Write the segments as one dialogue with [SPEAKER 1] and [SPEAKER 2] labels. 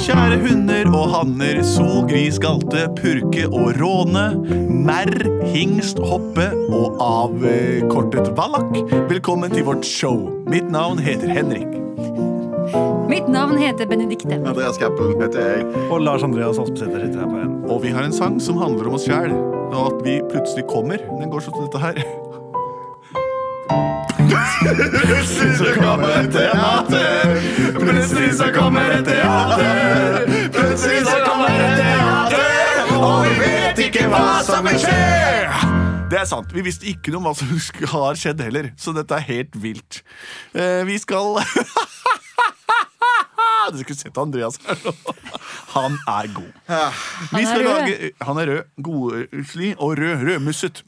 [SPEAKER 1] Kjære hunder og hanner, solgris, galte, purke og råne, merr, hingst, hoppe og avkortet vallak. Velkommen til vårt show. Mitt navn heter Henrik.
[SPEAKER 2] Mitt navn heter Benedikte.
[SPEAKER 3] Andreas Cappelen heter jeg.
[SPEAKER 4] Og Lars Andreas Aspesæter sitter her på en.
[SPEAKER 1] Og vi har en sang som handler om oss sjæl, og at vi plutselig kommer. Den går sånn til dette her.
[SPEAKER 3] Plutselig så kommer et teater. Plutselig så kommer et teater. Plutselig så kommer et teater. Og vi vet ikke hva som vil skje.
[SPEAKER 1] Det er sant. Vi visste ikke noe om hva som sk- har skjedd heller, så dette er helt vilt. Eh, vi skal Du skulle sett Andreas her nå. Han er god. Vi
[SPEAKER 2] er
[SPEAKER 1] skal
[SPEAKER 2] rød.
[SPEAKER 1] lage Han er rød, godslig og rød. Rødmusset.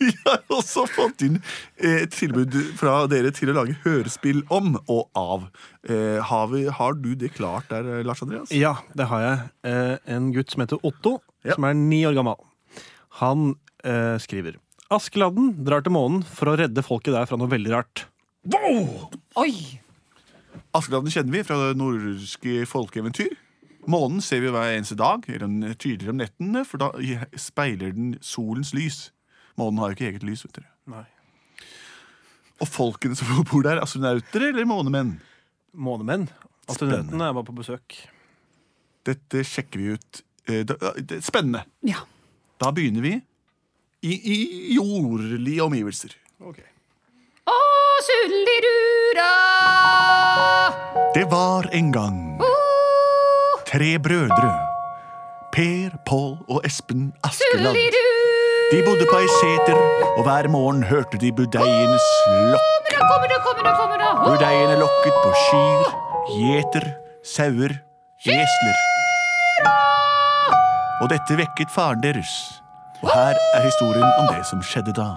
[SPEAKER 1] Vi har også fått inn eh, et tilbud fra dere til å lage hørespill om og av eh, havet. Har du det klart der, eh, Lars Andreas?
[SPEAKER 4] Ja, det har jeg. Eh, en gutt som heter Otto,
[SPEAKER 1] Ja.
[SPEAKER 4] som er ni år gammel. Han eh, skriver Askeladden drar til månen for å redde folket der fra noe veldig rart.
[SPEAKER 2] Oi!
[SPEAKER 1] Askeladden kjenner vi fra det nordiske folkeeventyr. Månen ser vi hver eneste dag, eller den er tydeligere om nettene, for da speiler den solens lys. Månen har jo ikke eget lys, vet dere.
[SPEAKER 4] Nei.
[SPEAKER 1] Og folkene som bor der, astronauter eller månemenn?
[SPEAKER 4] Månemenn. Astronautene er bare på besøk.
[SPEAKER 1] Dette sjekker vi ut. Eh, Det det er spennende.
[SPEAKER 2] Ja.
[SPEAKER 1] Da begynner vi i, i jordlige omgivelser.
[SPEAKER 2] Å, sullerura!
[SPEAKER 1] Det var en gang tre brødre. Per, Pål og Espen Askeland.
[SPEAKER 2] Sullirura!
[SPEAKER 1] De bodde på ei seter, og hver morgen hørte de budeienes lokk.
[SPEAKER 2] Kommer da, kommer da, kommer da, kommer da! Å,
[SPEAKER 1] Budeiene lokket på kyr, gjeter, sauer, gjesler. Og dette vekket faren deres. Og her er historien om det som skjedde da.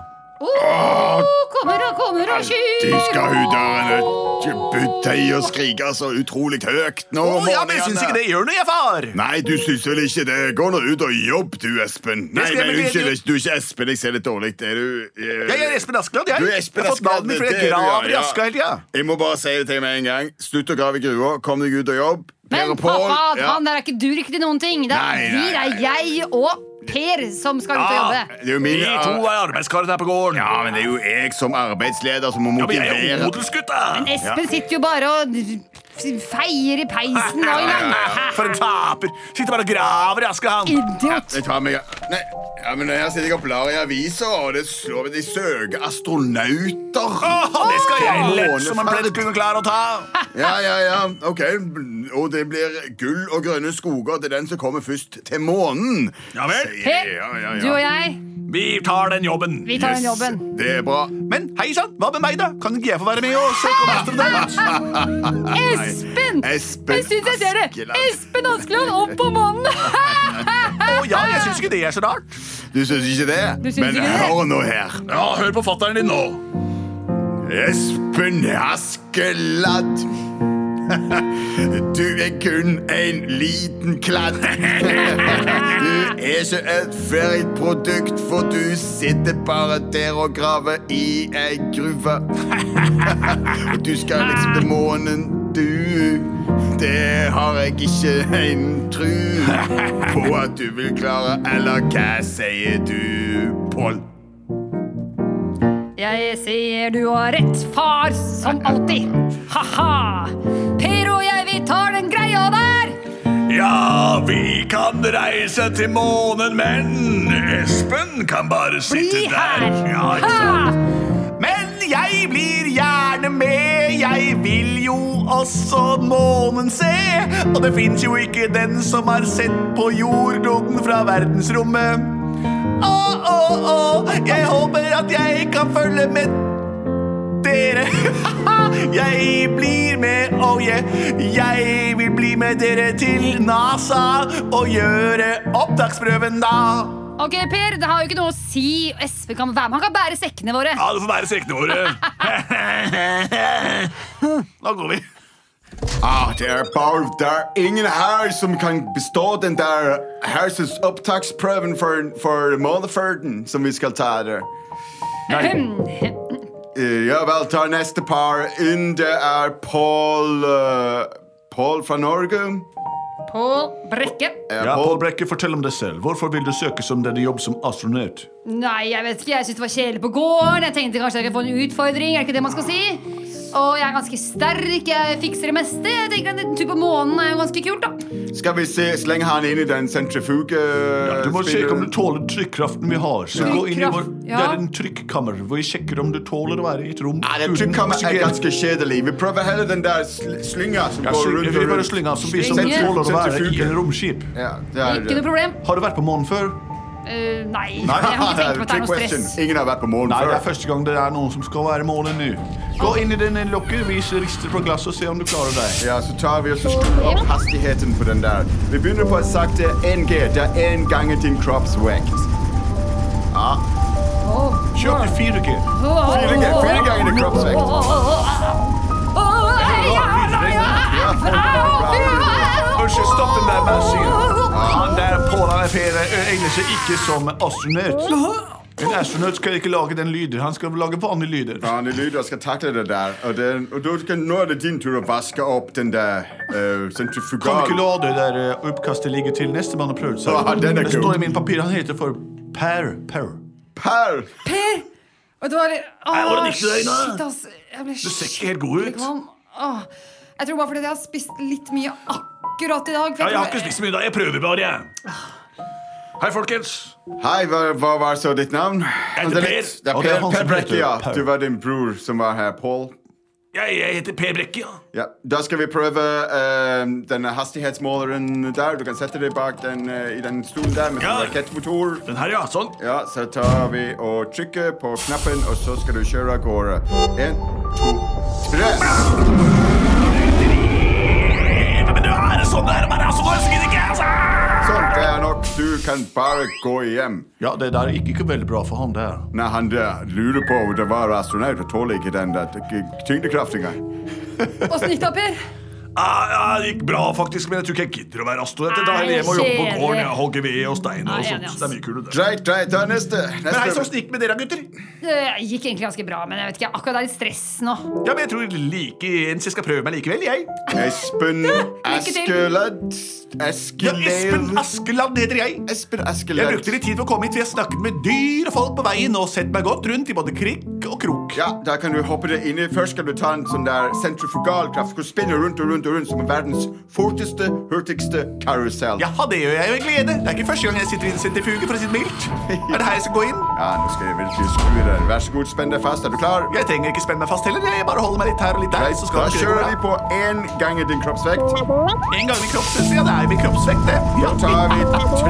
[SPEAKER 2] kommer da, kommer da, kyr!
[SPEAKER 3] Du skal eh, ut der en buttei og skrike så utrolig høyt nå om morgenene.
[SPEAKER 1] gjør noe, jeg, far!
[SPEAKER 3] Nei, du syns vel ikke det. Gå nå ut og jobb, du, Espen. Nei,
[SPEAKER 1] skal jeg, men
[SPEAKER 3] men
[SPEAKER 1] det-
[SPEAKER 3] unnskyld, du er ikke Espen. Jeg ser litt dårlig. Er du eh,
[SPEAKER 1] Espen Askeland,
[SPEAKER 3] Du er Espen Askeland, det er du, ja, ja. Jeg må bare si det til deg med en gang. Slutt å grave i grua. Kom deg ut og jobb. Per
[SPEAKER 2] Men
[SPEAKER 3] og Pål,
[SPEAKER 2] pappa,
[SPEAKER 3] ja.
[SPEAKER 2] han der er ikke du riktig noen ting. Det
[SPEAKER 3] Nei,
[SPEAKER 2] er
[SPEAKER 3] nei,
[SPEAKER 2] vi, det er jeg og Per som skal ut og
[SPEAKER 1] Ah.
[SPEAKER 2] jobbe.
[SPEAKER 3] Det er jo min ja,
[SPEAKER 1] er arbeidskarer her på gården.
[SPEAKER 3] men det er jo jeg som arbeidsleder som må motivere.
[SPEAKER 1] odelsgutt, da!
[SPEAKER 2] Espen sitter jo bare og feier i peisen og
[SPEAKER 1] For en taper! Sitter bare og graver i Askeland.
[SPEAKER 2] Idiot!
[SPEAKER 3] Jeg tar meg Nei, ja, men her sitter jeg og blar i aviser, og det slår meg de søker astronauter.
[SPEAKER 1] det skal jeg lett som en
[SPEAKER 3] Måneferd.
[SPEAKER 1] pledd kunne klare å ta.
[SPEAKER 3] Ja, ja, ja. Ok. Og det blir gull og grønne skoger til den som kommer først til månen.
[SPEAKER 1] Ja vel.
[SPEAKER 3] Sier-
[SPEAKER 2] Per,
[SPEAKER 3] ja, ja, ja.
[SPEAKER 2] du og jeg,
[SPEAKER 1] Vi tar den jobben.
[SPEAKER 2] vi tar den
[SPEAKER 3] Yes,
[SPEAKER 2] jobben.
[SPEAKER 3] Det er bra.
[SPEAKER 1] Men hei sann, hva med meg, da? Kan ikke jeg få være med og søke om astronaut?
[SPEAKER 2] Espen!
[SPEAKER 3] Espen
[SPEAKER 2] Jeg syns jeg ser det!
[SPEAKER 3] Askeland.
[SPEAKER 2] Espen Askeland opp på månen!
[SPEAKER 1] Å ja, jeg syns ikke det er så rart.
[SPEAKER 3] Du syns ikke det?
[SPEAKER 2] Du syns
[SPEAKER 3] Men
[SPEAKER 2] ikke det?
[SPEAKER 3] hør nå her.
[SPEAKER 1] Ja, Hør på fattern din nå.
[SPEAKER 3] Espen Askeladd. Du er kun en liten kladd. Du er ikke et ferdig produkt, for du sitter bare der og graver i ei gruve. Og du skal liksom til månen, du. Det har jeg ikke en tru på at du vil klare, eller hva sier du, Pål?
[SPEAKER 2] Jeg ser du har rett, far, som alltid. Ha-ha! Per og jeg, vi tar den greia der!
[SPEAKER 1] Ja, vi kan reise til månen, men Espen kan bare
[SPEAKER 2] Bli her! Ha!
[SPEAKER 1] Men jeg blir gjerne med, jeg vil jo også månen se. Og det fins jo ikke den som har sett på jordkloden fra verdensrommet. Å, å, å, jeg håper at jeg kan følge med dere. jeg blir med, oh yeah. Jeg vil bli med dere til NASA og gjøre opptaksprøven da.
[SPEAKER 2] Ok, Per, det har jo ikke noe å si. Espen kan være med. Han kan bære sekkene våre.
[SPEAKER 1] Ja, det sånn får være sekkene våre. da går vi.
[SPEAKER 3] Ah, det er bare det er ingen her som kan bestå den der herses opptaksprøven for, for måneferden som vi skal ta der. Nei. eh, ja vel, ta neste par. Under er Paul eh, Paul fra Norge.
[SPEAKER 2] Pål Brekke.
[SPEAKER 3] Eh,
[SPEAKER 1] Ja, Paul
[SPEAKER 3] Paul,
[SPEAKER 1] Brekke, fortell om deg selv. Hvorfor vil du søke som denne jobb som astronaut?
[SPEAKER 2] Nei, jeg vet ikke. Jeg syntes det var kjedelig på gården. Jeg tenkte kanskje jeg kunne få en utfordring. Er det ikke det man skal si? Og jeg er ganske sterk. Jeg fikser det meste. Jeg tenker En liten tur på månen er jo ganske kult, da.
[SPEAKER 3] skal vi se, slenge han inn i den sentrifuge eh,
[SPEAKER 1] Du må sjekke om du tåler trykkraften vi har. Så gå inn i vår,
[SPEAKER 2] Trykkraft,
[SPEAKER 1] Det
[SPEAKER 2] ja.
[SPEAKER 1] er en trykkammer hvor vi sjekker om du tåler å være i et rom
[SPEAKER 3] Nei, den trykkammer er
[SPEAKER 1] oksygen.
[SPEAKER 3] ganske kjedelig. Vi prøver heller den der sl slynga som
[SPEAKER 1] Ja,
[SPEAKER 3] går
[SPEAKER 1] slyng-
[SPEAKER 3] rundt
[SPEAKER 1] vi
[SPEAKER 3] og
[SPEAKER 1] bare
[SPEAKER 3] rundt.
[SPEAKER 1] slynger, så vi som
[SPEAKER 2] Slynge.
[SPEAKER 1] tåler å være i
[SPEAKER 3] Sentrifuge.
[SPEAKER 1] en romskip.
[SPEAKER 3] Ja, det er,
[SPEAKER 2] Ikke noe problem.
[SPEAKER 1] Har du vært på månen før?
[SPEAKER 2] Eh, nei, jeg har ikke tenkt meg at det er noe
[SPEAKER 3] Trick question.
[SPEAKER 2] stress.
[SPEAKER 3] Ingen har vært på månen
[SPEAKER 1] Nei, det er
[SPEAKER 3] før.
[SPEAKER 1] første gang det er noen som skal være i månen nå. Gå inn i denne lokket, vis rister på glasset og se om du klarer deg.
[SPEAKER 3] Ja, så tar vi og så skrur opp hastigheten på den der. Vi begynner på et sakte 1G. Det er én gang din kroppsvekt. Ja.
[SPEAKER 2] Åh.
[SPEAKER 1] Kjør til 4G.
[SPEAKER 2] Åh,
[SPEAKER 3] Fire ganger- fire ganger din kroppsvekt.
[SPEAKER 2] åh, åh, åh, åh. Åh, ja, nei, ja. Au, au, au.
[SPEAKER 1] Unnskyld, stopp den der bæsjen. Han der Pål han er ferie, ø, egner seg ikke som astronaut. En astronaut skal ikke lage den lyden. Han skal lage vanlige lyder.
[SPEAKER 3] Ja, det lyder og skal takle det der. Og, den, og du skal, nå er det din tur å vaske opp den der uh,
[SPEAKER 1] Kan ikke
[SPEAKER 3] sentrifugal...
[SPEAKER 1] la det der ø, oppkastet ligge til neste mann har prøvd
[SPEAKER 3] Ja,
[SPEAKER 1] seg.
[SPEAKER 3] den er
[SPEAKER 1] Det står
[SPEAKER 3] god.
[SPEAKER 1] i min papir. Han heter for Per. Per.
[SPEAKER 3] Per!
[SPEAKER 2] Per! Vet du hva eller-
[SPEAKER 1] var det
[SPEAKER 2] Åh,
[SPEAKER 1] ikke det, Ina?
[SPEAKER 2] Shit, ass. Jeg ble
[SPEAKER 1] Du ser ikke helt god ut.
[SPEAKER 2] Åh, jeg tror bare fordi jeg har spist litt mye akkurat i dag. for
[SPEAKER 1] Ja, jeg har
[SPEAKER 2] tror-
[SPEAKER 1] ikke spist middag. Jeg prøver bare, jeg. Hei, folkens.
[SPEAKER 3] Hei, hva, hva var så ditt navn?
[SPEAKER 1] heter
[SPEAKER 3] Det er
[SPEAKER 1] Per.
[SPEAKER 3] litt- Det
[SPEAKER 1] Og
[SPEAKER 3] er
[SPEAKER 1] det er
[SPEAKER 3] Per,
[SPEAKER 1] han
[SPEAKER 3] per
[SPEAKER 1] som heter
[SPEAKER 3] Brekke, ja.
[SPEAKER 1] Per.
[SPEAKER 3] Du var din bror som var her, Paul.
[SPEAKER 1] Jeg, jeg heter Per Brekke, ja.
[SPEAKER 3] Ja, Da skal vi prøve ehm, denne hastighetsmåleren der. Du kan sette deg bak den eh, i den stolen der med
[SPEAKER 1] Ja.
[SPEAKER 3] sånn rakettmotor.
[SPEAKER 1] Den her, ja. Sånn.
[SPEAKER 3] Ja, så tar vi og trykker på knappen, og så skal du kjøre av gårde. En, to, tre.
[SPEAKER 1] Men det er sånn det er. Men altså, nå elsker jeg ikke, altså.
[SPEAKER 3] Sånn, det er nok. Du kan bare gå hjem.
[SPEAKER 1] Ja, det der gikk ikke veldig bra for han der.
[SPEAKER 3] Nei, han der lurer på om det var astronaut og tåler ikke den der tyk- tyngdekraftinga.
[SPEAKER 2] Åssen gikk det, Per?
[SPEAKER 1] Ah, ja, det gikk bra, faktisk, men jeg tror ikke jeg gidder å være astronaut. Jeg drar
[SPEAKER 2] Nei,
[SPEAKER 1] hjem og jobber på
[SPEAKER 2] kjedelig.
[SPEAKER 1] gården. Jeg hogger ved og stein
[SPEAKER 2] Nei,
[SPEAKER 1] og
[SPEAKER 2] enig,
[SPEAKER 1] sånt.
[SPEAKER 2] ass.
[SPEAKER 1] Det er mye kulere. der.
[SPEAKER 3] Greit, greit, ta neste.
[SPEAKER 1] Men hei,
[SPEAKER 3] neste.
[SPEAKER 1] sånn gikk med dere, gutter.
[SPEAKER 2] Det gikk egentlig ganske bra, men jeg vet ikke, akkurat det er litt stress nå.
[SPEAKER 1] Ja, men jeg tror like ens jeg skal prøve meg likevel, jeg.
[SPEAKER 3] Espen
[SPEAKER 2] til.
[SPEAKER 3] Askeladd.
[SPEAKER 1] Ja, Espen
[SPEAKER 3] Askeladd.
[SPEAKER 1] Askeland heter jeg.
[SPEAKER 3] Espen
[SPEAKER 1] Jeg
[SPEAKER 3] Askeladd.
[SPEAKER 1] brukte litt tid på å komme hit, for jeg snakket med dyr og folk på veien og sett meg godt rundt i både krikk og krok.
[SPEAKER 3] Ja, der kan du hoppe deg inni. Først skal du ta en sånn der sentrifugalkraft. Du skal spinne rundt og rundt og rundt som verdens forteste, hurtigste karusell.
[SPEAKER 1] Jaha, det gjør jeg jo i glede. Det er ikke første gang jeg sitter i en sentrifuge, for å si det mildt. Er det her jeg skal gå inn?
[SPEAKER 3] Ja, nå skal jeg virkelig skru der. Vær så god, spenn deg fast. Er du klar?
[SPEAKER 1] Jeg trenger ikke spenne meg fast heller. Jeg bare holder meg litt her og litt der.
[SPEAKER 3] Greit,
[SPEAKER 1] Så
[SPEAKER 3] da
[SPEAKER 1] skal det ikke
[SPEAKER 3] kjører
[SPEAKER 1] gå
[SPEAKER 3] vi
[SPEAKER 1] bra.
[SPEAKER 3] på én gang din kroppsvekt.
[SPEAKER 1] En gang i kroppsvekt, ja, det er min kroppsvekt, det. Ja,
[SPEAKER 3] Da tar vi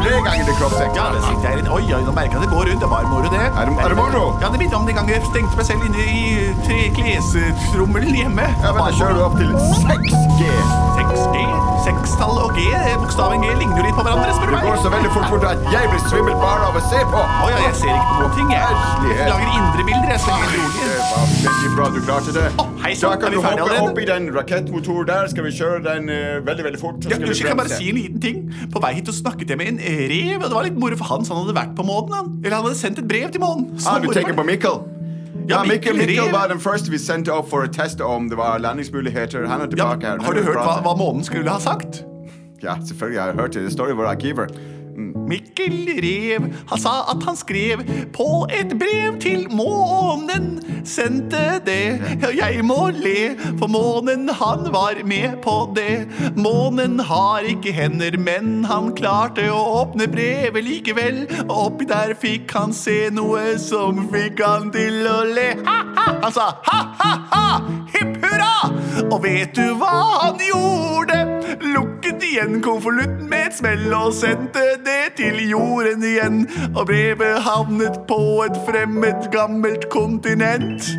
[SPEAKER 3] tre ganger din kroppsvekt.
[SPEAKER 1] Ja, det sitter jeg litt. Oi, oi, nå merker jeg det går rundt. Det var moro, det.
[SPEAKER 3] Er det- er det moro?
[SPEAKER 1] Ja, det minner om den gangen jeg stengte meg selv inne i eh, tre klestrommel hjemme.
[SPEAKER 3] Ja, men da kjører du opp til 6G.
[SPEAKER 1] 6G, 6-tall og G, eh, bokstaven G, ligner jo litt på hverandre, spør du
[SPEAKER 3] Det
[SPEAKER 1] meg.
[SPEAKER 3] går så veldig fort bort at jeg blir svimmel bare av å se på.
[SPEAKER 1] Å ja, jeg ser ikke på noen ting, jeg.
[SPEAKER 3] Herlighet.
[SPEAKER 1] Jeg lager indre bilder, jeg ser helt rolig.
[SPEAKER 3] Det var veldig bra du klarte det.
[SPEAKER 1] Å, hei sann,
[SPEAKER 3] Da
[SPEAKER 1] er
[SPEAKER 3] kan
[SPEAKER 1] vi
[SPEAKER 3] du
[SPEAKER 1] ferdig
[SPEAKER 3] hoppe
[SPEAKER 1] allerede?
[SPEAKER 3] opp i den rakettmotor der. Skal vi kjøre den eh, veldig, veldig fort? så
[SPEAKER 1] Ja,
[SPEAKER 3] skal vi
[SPEAKER 1] unnskyld, kan jeg bare
[SPEAKER 3] bremse.
[SPEAKER 1] si en liten ting? På vei hit og snakket jeg med en eh, rev, og det var litt moro for han, så han hadde vært på månen. han. Eller han hadde sendt et brev til månen. Så
[SPEAKER 3] Ah, du
[SPEAKER 1] moro
[SPEAKER 3] tenker på
[SPEAKER 1] for-
[SPEAKER 3] Mikkel?
[SPEAKER 1] Ja,
[SPEAKER 3] Ja, Mikkel,
[SPEAKER 1] Mikkel
[SPEAKER 3] Mikkel
[SPEAKER 1] Rev.
[SPEAKER 3] var den første vi sendte opp for å teste om det var landingsmuligheter. Han er
[SPEAKER 1] ja,
[SPEAKER 3] tilbake her.
[SPEAKER 1] Har du hørt hva, hva månen skulle ha sagt?
[SPEAKER 3] Ja, selvfølgelig har jeg hørt det. Det står i våre arkiver.
[SPEAKER 1] Mikkel Rev, han sa at han skrev på et brev til månen. Sendte det, og jeg må le, for månen han var med på det. Månen har ikke hender, men han klarte å åpne brevet likevel. Og oppi der fikk han se noe som fikk han til å le. Ha-ha! Han sa ha-ha-ha, hipp hurra! Og vet du hva han gjorde? Lukket igjen konvolutten med et smell og sendte det til jorden igjen. Og brevet havnet på et fremmed, gammelt kontinent.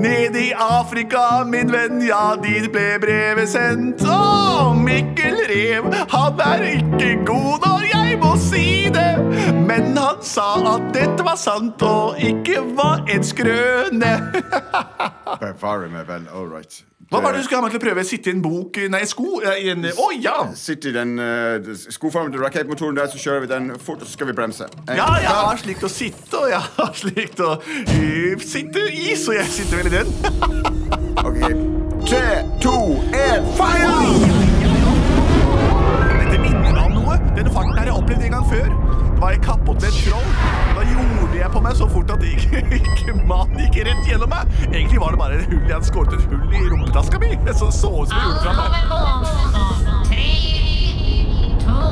[SPEAKER 1] Nede i Afrika, min venn, ja, dit ble brevet sendt. Å, Mikkel Rev, han er ikke god når jeg må si det. Men han sa at dette var sant og ikke var en skrøne.
[SPEAKER 3] akvarium er vel all right.
[SPEAKER 1] Ah. Hva var det du skulle ha meg til å prøve? Sitte i en bok Nei, sko? eh, I en Å ja!
[SPEAKER 3] Sitt i den uh, skoformede rakettmotoren der, så kjører vi den fort, og så skal vi bremse. En,
[SPEAKER 1] Ja, jeg har slikt å sitte, og jeg har slikt å eh, sitte i, så jeg sitter vel i den.
[SPEAKER 3] Ok. Tre, to, én, fire!
[SPEAKER 1] Dette minner meg om noe. Denne farten har jeg opplevd en gang før. Da var jeg kappet med et troll. Da gjorde jeg på meg så fort at det gikk, ikke, mannen gikk rett gjennom meg. Egentlig var det bare et hull han skåret et hull i rumpetaska mi. Det så så ut som jeg gjorde fra meg.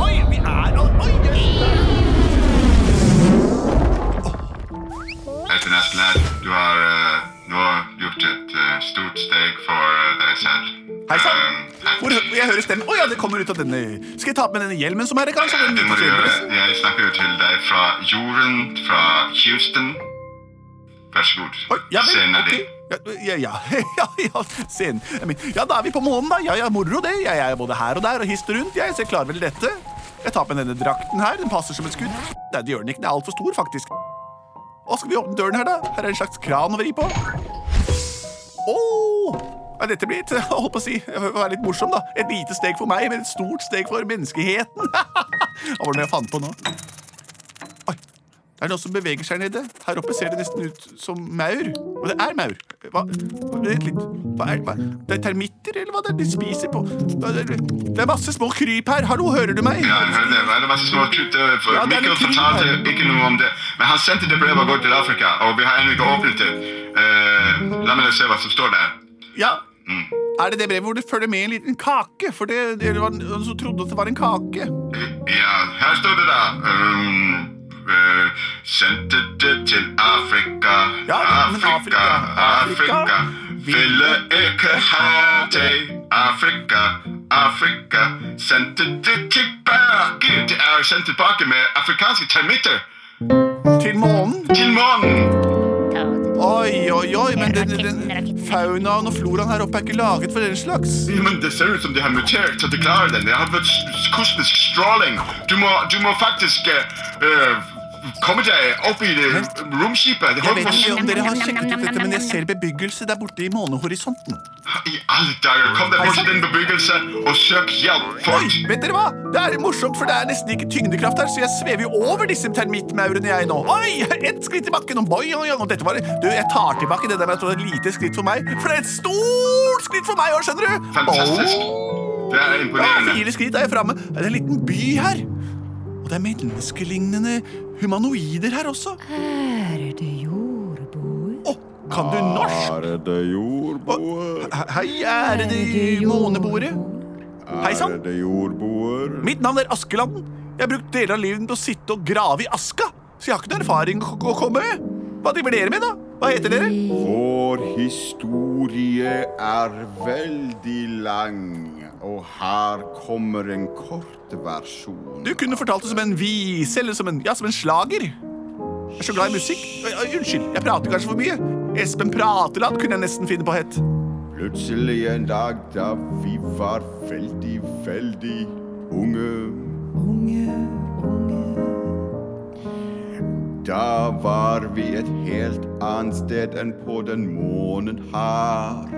[SPEAKER 1] Oi, vi er nå Oi, jøss.
[SPEAKER 5] Dette Nestled, du har eh, nå gjort et eh, stort steg for eh, deg selv.
[SPEAKER 1] Hei sann.
[SPEAKER 5] Eh, at-
[SPEAKER 1] Hvor hø- jeg hører stemmen Å ja, det kommer ut av denne Skal jeg ta på meg denne hjelmen som er her, kanskje? Den
[SPEAKER 5] Det må du gjøre.
[SPEAKER 1] forsvinner.
[SPEAKER 5] Jeg snakker jo til deg fra jorden, fra Houston. Vær så god.
[SPEAKER 1] Oi, ja vel,
[SPEAKER 5] Scenen er
[SPEAKER 1] ok.
[SPEAKER 5] din.
[SPEAKER 1] Ja, ja, ja, ja, ja, scenen er min. ja, da er vi på månen, da. Ja, ja, moro det. Jeg er både her og der og hister rundt, jeg, så jeg klarer vel dette. Jeg tar på meg denne drakten her. Den passer som et skudd. Nei, det gjør den ikke. Den er altfor stor, faktisk. Å, skal vi åpne døren her, da? Her er en slags kran å vri på. Åh! Ja, dette blir et, jeg holdt på å si, det var litt morsom, da. Et lite steg for meg, men et stort steg for menneskeheten. Hva var det jeg fant på nå? Oi, det er noe som beveger seg her nede. Her oppe ser det nesten ut som maur. Og det er maur. Hva, vent litt. Hva er, hva? Det er termitter, eller hva det er? De spiser på Hva er det- Det er masse små kryp her. Hallo, hører du meg?
[SPEAKER 5] Ja, jeg hører det. Hva er det masse små kutt overfor?
[SPEAKER 1] Ja, det er litt
[SPEAKER 5] Mikkel
[SPEAKER 1] krig
[SPEAKER 5] fortalte
[SPEAKER 1] her.
[SPEAKER 5] ikke noe om det. Men han sendte det brevet og går til Afrika, og vi har ennå ikke åpnet det. Eh, la meg se hva som står der.
[SPEAKER 1] Ja.
[SPEAKER 5] Mm.
[SPEAKER 1] Er det det brevet hvor det følger med en liten kake? For det, det var noen som trodde at det var en kake.
[SPEAKER 5] Eh, Ja, her står det da. Um, eh, sendte det til Afrika.
[SPEAKER 1] Ja, men
[SPEAKER 5] Afrika,
[SPEAKER 1] Afrika,
[SPEAKER 5] Afrika,
[SPEAKER 1] Afrika
[SPEAKER 5] Ville ikke ha deg. Afrika, Afrika. Sendte det tilbake. Det er jo sendt tilbake med afrikanske termitter
[SPEAKER 1] Til månen.
[SPEAKER 5] til månen.
[SPEAKER 1] Oi, oi, oi, men den,
[SPEAKER 6] Raketten,
[SPEAKER 1] den
[SPEAKER 6] raketten.
[SPEAKER 1] faunaen og floraen her oppe er ikke laget for den slags.
[SPEAKER 5] Men det ser ut som de har mutert, så de klarer den. Det har vært s- kosmisk stråling. Du må, du må faktisk eh, eh, komme deg opp i det romskipet. Det
[SPEAKER 1] Jeg
[SPEAKER 5] holder
[SPEAKER 1] vet
[SPEAKER 5] på å
[SPEAKER 1] ikke om dere har sjekket ut dette, men jeg ser bebyggelse der borte i månehorisonten.
[SPEAKER 5] I alle dager, kom deg bort til din bebyggelse og søk hjelp
[SPEAKER 1] Oi,
[SPEAKER 5] fort!
[SPEAKER 1] vet dere hva? Det er morsomt, for det er nesten ikke tyngdekraft her, så jeg svever jo over disse termittmaurene jeg nå. Oi, ett skritt i bakken, og boi, oi, oi, og dette var Du, jeg tar tilbake det der med at det var et lite skritt for meg, for det er et stort skritt for meg òg, skjønner du?
[SPEAKER 5] Fantastisk. Det er
[SPEAKER 1] Å, ja,
[SPEAKER 5] imponerende.
[SPEAKER 1] fire skritt er jeg framme. Det er en liten by her. Og det er menneskelignende humanoider her også.
[SPEAKER 2] Ærede jordboer.
[SPEAKER 1] Å, kan du norsk?
[SPEAKER 3] Ærede jordboer,
[SPEAKER 1] He- Hei, ærede
[SPEAKER 2] Ærede
[SPEAKER 1] måneboere. Hei sann.
[SPEAKER 3] ærede jordboer.
[SPEAKER 1] Mitt navn er Askeladden. Jeg har brukt deler av livet på å sitte og grave i aska. Så jeg har ikke noe erfaring å å komme med. Hva driver dere med, da? Hva heter dere?
[SPEAKER 3] Vår historie er veldig lang, og her kommer en kort versjon.
[SPEAKER 1] Du kunne fortalt det som en vise eller som en, ja, som en slager. Jeg er så glad i musikk. Øy, øy, Unnskyld, jeg prater kanskje for mye. Espen Prateland kunne jeg nesten finne på å hett.
[SPEAKER 3] Plutselig en dag da vi var veldig, veldig unge Da var vi et helt annet sted enn på den månen her.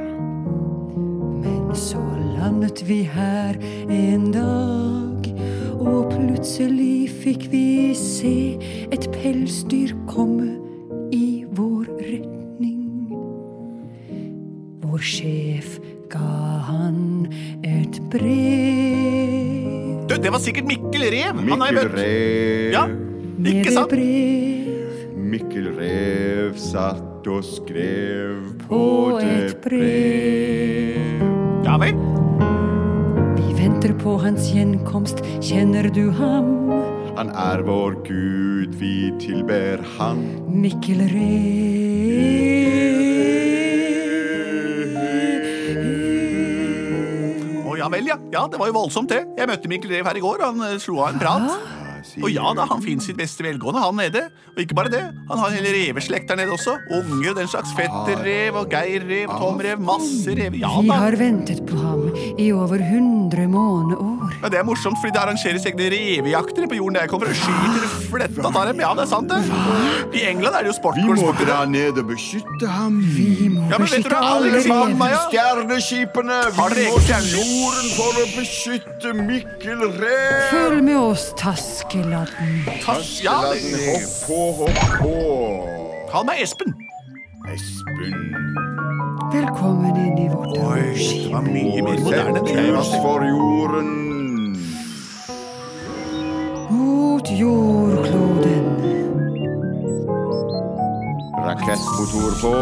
[SPEAKER 7] Men så landet vi her en dag, og plutselig fikk vi se et pelsdyr komme i vår retning. Vår sjef ga han et brev.
[SPEAKER 1] Du, det var sikkert Mikkel Rev. Han er
[SPEAKER 3] Mikkel
[SPEAKER 1] møtt.
[SPEAKER 3] Rev,
[SPEAKER 1] Ja,
[SPEAKER 7] Med
[SPEAKER 1] ikke
[SPEAKER 7] det
[SPEAKER 1] sant?
[SPEAKER 7] brev
[SPEAKER 3] Mikkel Rev satt og skrev på
[SPEAKER 7] På
[SPEAKER 3] det
[SPEAKER 7] et
[SPEAKER 3] brev.
[SPEAKER 1] Ja vel.
[SPEAKER 7] Vi venter på hans gjenkomst, kjenner du ham?
[SPEAKER 3] Han er vår Gud, vi tilber Han.
[SPEAKER 7] Mikkel Rev.
[SPEAKER 1] Å, ja vel, ja. ja. Det var jo voldsomt, det. Jeg møtte Mikkel Rev her i går, og han eh, slo av en prat.
[SPEAKER 3] sier
[SPEAKER 1] Og ja da, han finner sitt beste velgående, han nede. Og ikke bare det, han har en hel reveslekt der nede også. Unger og den slags. Fetterrev og geirrev, tomrev, masse rev. Ja
[SPEAKER 7] Vi
[SPEAKER 1] da.
[SPEAKER 7] har ventet på ham i over 100 måneår.
[SPEAKER 1] Ja, det er morsomt, fordi det arrangeres egne revejakter på jorden der jeg kommer fra. Skyter fletta av dem. Ja, det er sant, det. I England er det jo
[SPEAKER 3] Vi må
[SPEAKER 1] sportkorrespondent.
[SPEAKER 3] dra ned og beskytte ham.
[SPEAKER 7] Vi må
[SPEAKER 1] Ja, men vet
[SPEAKER 7] beskytte
[SPEAKER 1] dere,
[SPEAKER 7] alle
[SPEAKER 1] Alex Mann,
[SPEAKER 7] rever.
[SPEAKER 1] Maja,
[SPEAKER 3] Stjerneskipene!
[SPEAKER 1] Har dere
[SPEAKER 3] Vi
[SPEAKER 1] eget
[SPEAKER 3] må til
[SPEAKER 1] stjerne-
[SPEAKER 3] jorden for å beskytte Mikkel Rev!
[SPEAKER 7] Følg med oss, Taskeladden.
[SPEAKER 1] Ja,
[SPEAKER 3] La den
[SPEAKER 1] det-
[SPEAKER 3] hoppe på, hoppe på.
[SPEAKER 1] Kall meg Espen.
[SPEAKER 3] Espen.
[SPEAKER 7] Velkommen inn i vårt
[SPEAKER 1] Det
[SPEAKER 7] romskip.
[SPEAKER 1] var mye mer moderne enn det.
[SPEAKER 3] Kurs for jorden.
[SPEAKER 7] Mot jordkloden.
[SPEAKER 3] Rakettmotor på.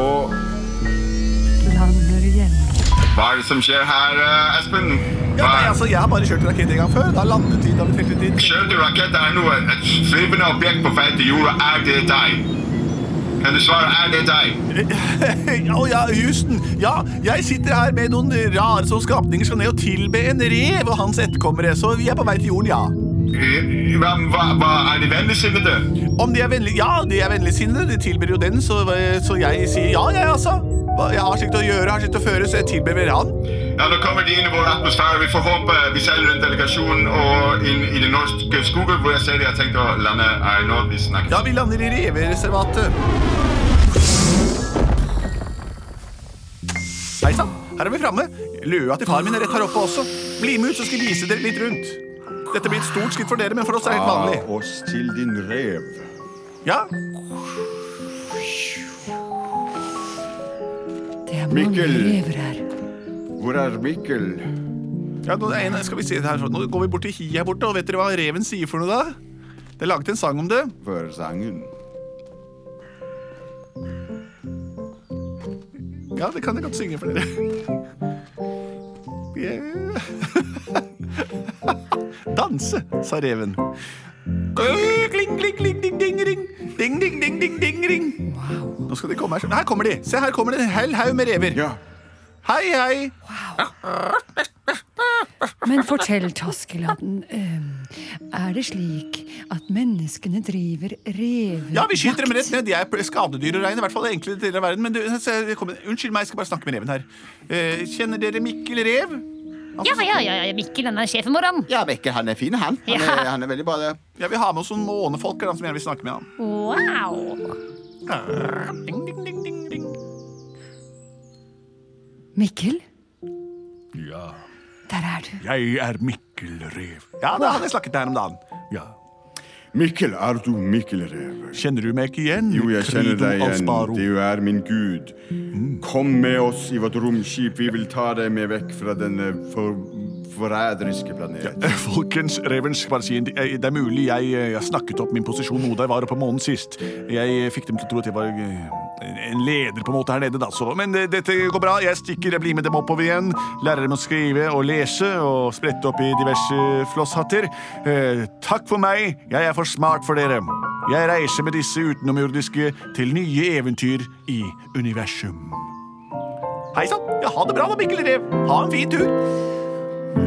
[SPEAKER 7] Lander hjemme.
[SPEAKER 5] Hva er det som skjer her, eh, Espen?
[SPEAKER 1] Ja,
[SPEAKER 5] Hva?
[SPEAKER 1] nei, altså, jeg har bare kjørt rakett en gang før. Da landet de da vi telte tid.
[SPEAKER 5] Skjønte rakett er noe et svevende objekt på vei til jorda. Er det deg? Kan du svare er det deg?
[SPEAKER 1] Å ja, Houston. Ja, jeg sitter her med noen rare som skapninger skal ned og tilbe en rev og hans etterkommere, så vi er på vei til jorden, ja.
[SPEAKER 5] Eh, Hva, hva, hva er de vennligsinnede?
[SPEAKER 1] Om de er vennlige Ja, de er vennligsinnede. De tilber jo den, så, så jeg sier ja, jeg, altså. Hva- Jeg har slikt å gjøre, har slikt å føre, så jeg tilber vel han.
[SPEAKER 5] Ja, nå kommer de inn i vår atmosfære. Vi får håpe vi selger en delegasjon og inn i den norske skogen, hvor jeg ser de har tenkt å lande er nå vi snakker.
[SPEAKER 1] Ja, vi lander i revereservatet. Hei sann, her er vi framme. Løa til far min er rett her oppe også. Bli med ut, så skal jeg vise dere litt rundt. Dette blir et stort skritt for dere, men for oss er det helt
[SPEAKER 3] Ta
[SPEAKER 1] vanlig.
[SPEAKER 3] oss til din rev.
[SPEAKER 1] Ja,
[SPEAKER 7] Det er mange
[SPEAKER 3] Mikkel.
[SPEAKER 7] rever her.
[SPEAKER 3] Hvor er Mikkel?
[SPEAKER 1] ja nå, er en, skal vi se det her. nå går vi bort til hi her borte, og vet dere hva reven sier for noe da? Det er laget en sang om det.
[SPEAKER 3] Før sangen.
[SPEAKER 1] Ja, det kan jeg godt synge for dere. Yeah. Danse, sa reven. Øh, Kling, kling, kling, ding, ding, ring. Ding, ding, ding, ding, ding, ring. Nå skal de komme her. Her kommer de. Se, her kommer det en hel haug med rever.
[SPEAKER 3] Ja.
[SPEAKER 1] Hei, hei.
[SPEAKER 7] Men fortell, Taskeladden, eh, er det slik at menneskene driver revejakt?
[SPEAKER 1] Ja, vi skyter dem rett ned. De er skadedyr og rein. I hvert fall i enkelte deler av verden. Men du, se, det kommer- unnskyld meg, jeg skal bare snakke med reven her. Eh, kjenner dere Mikkel Rev?
[SPEAKER 2] Ja, ja, ja, ja, Mikkel, denne sjefen vår, han.
[SPEAKER 3] Ja, Mikkel, han er fin, han. Han er,
[SPEAKER 2] Ja.
[SPEAKER 3] han er veldig bra, det.
[SPEAKER 1] Ja, vi har med oss noen månefolk her, da, som gjerne vil snakke med ham.
[SPEAKER 2] Wow.
[SPEAKER 1] Ding, ding, ding, ding, ding.
[SPEAKER 7] Mikkel,
[SPEAKER 1] Ja.
[SPEAKER 7] der er du.
[SPEAKER 1] Jeg er Mikkel Rev. Ja, det hadde jeg snakket med her om dagen. Ja.
[SPEAKER 3] Mikkel, er du Mikkel Rev?
[SPEAKER 1] Kjenner du meg ikke igjen?
[SPEAKER 3] Jo, jeg kjenner
[SPEAKER 1] Credo
[SPEAKER 3] deg igjen.
[SPEAKER 1] Alsparo?
[SPEAKER 3] Du er min gud. Kom med oss i vårt romskip. Vi vil ta deg med vekk fra denne for forræderiske planeten.
[SPEAKER 1] Eh, Folkens, Revens, bare si en ting. Eh, Det er mulig jeg, eh, jeg snakket opp min posisjon noe da jeg var oppe på månen sist. Jeg eh, fikk dem til å tro at jeg var eh, en leder på en måte her nede, da. Så. Men eh, dette går bra. Jeg stikker, jeg blir med dem oppover igjen. Lærer dem å skrive og lese og sprette opp i diverse flosshatter. Eh, Takk for meg. Jeg er for smart for dere. Jeg reiser med disse utenomjordiske til nye eventyr i universum. Hei sann. Ja, ha det bra da, Mikkel Rev. Ha en fin tur.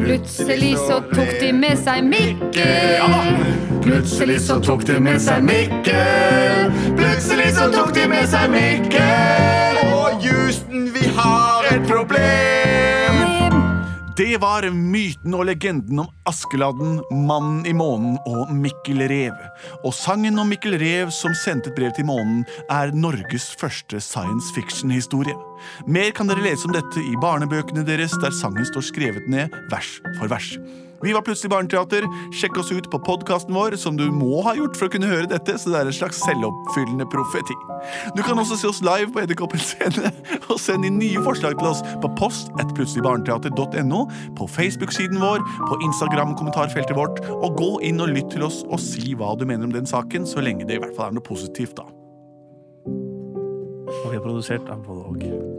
[SPEAKER 2] Plutselig så tok de med seg Mikkel.
[SPEAKER 1] Ja da.
[SPEAKER 2] Plutselig så tok de med seg
[SPEAKER 1] Mikkel. Plutselig så tok de med seg Mikkel.
[SPEAKER 3] Og Houston, vi har
[SPEAKER 1] Et problem!
[SPEAKER 2] Mikkel.
[SPEAKER 1] Det var myten og legenden om Askeladden, mannen i månen og Mikkel Rev. Og sangen om Mikkel Rev som sendte et brev til månen, er Norges første science fiction-historie. Mer kan dere lese om dette i barnebøkene deres, der sangen står skrevet ned vers for vers. Vi var plutselig barneteater. Sjekk oss ut på podkasten vår, som du må ha gjort for å kunne høre dette, så det er en slags selvoppfyllende profeti. Du kan også se oss live på Edderkoppen scene, og send inn nye forslag til oss på post at plutseligbarneteater.no, på Facebook-siden vår, på Instagram-kommentarfeltet vårt, og gå inn og lytt til oss og si hva du mener om den saken, så lenge det i hvert fall er noe positivt, da.
[SPEAKER 4] Og vi er produsert av både og.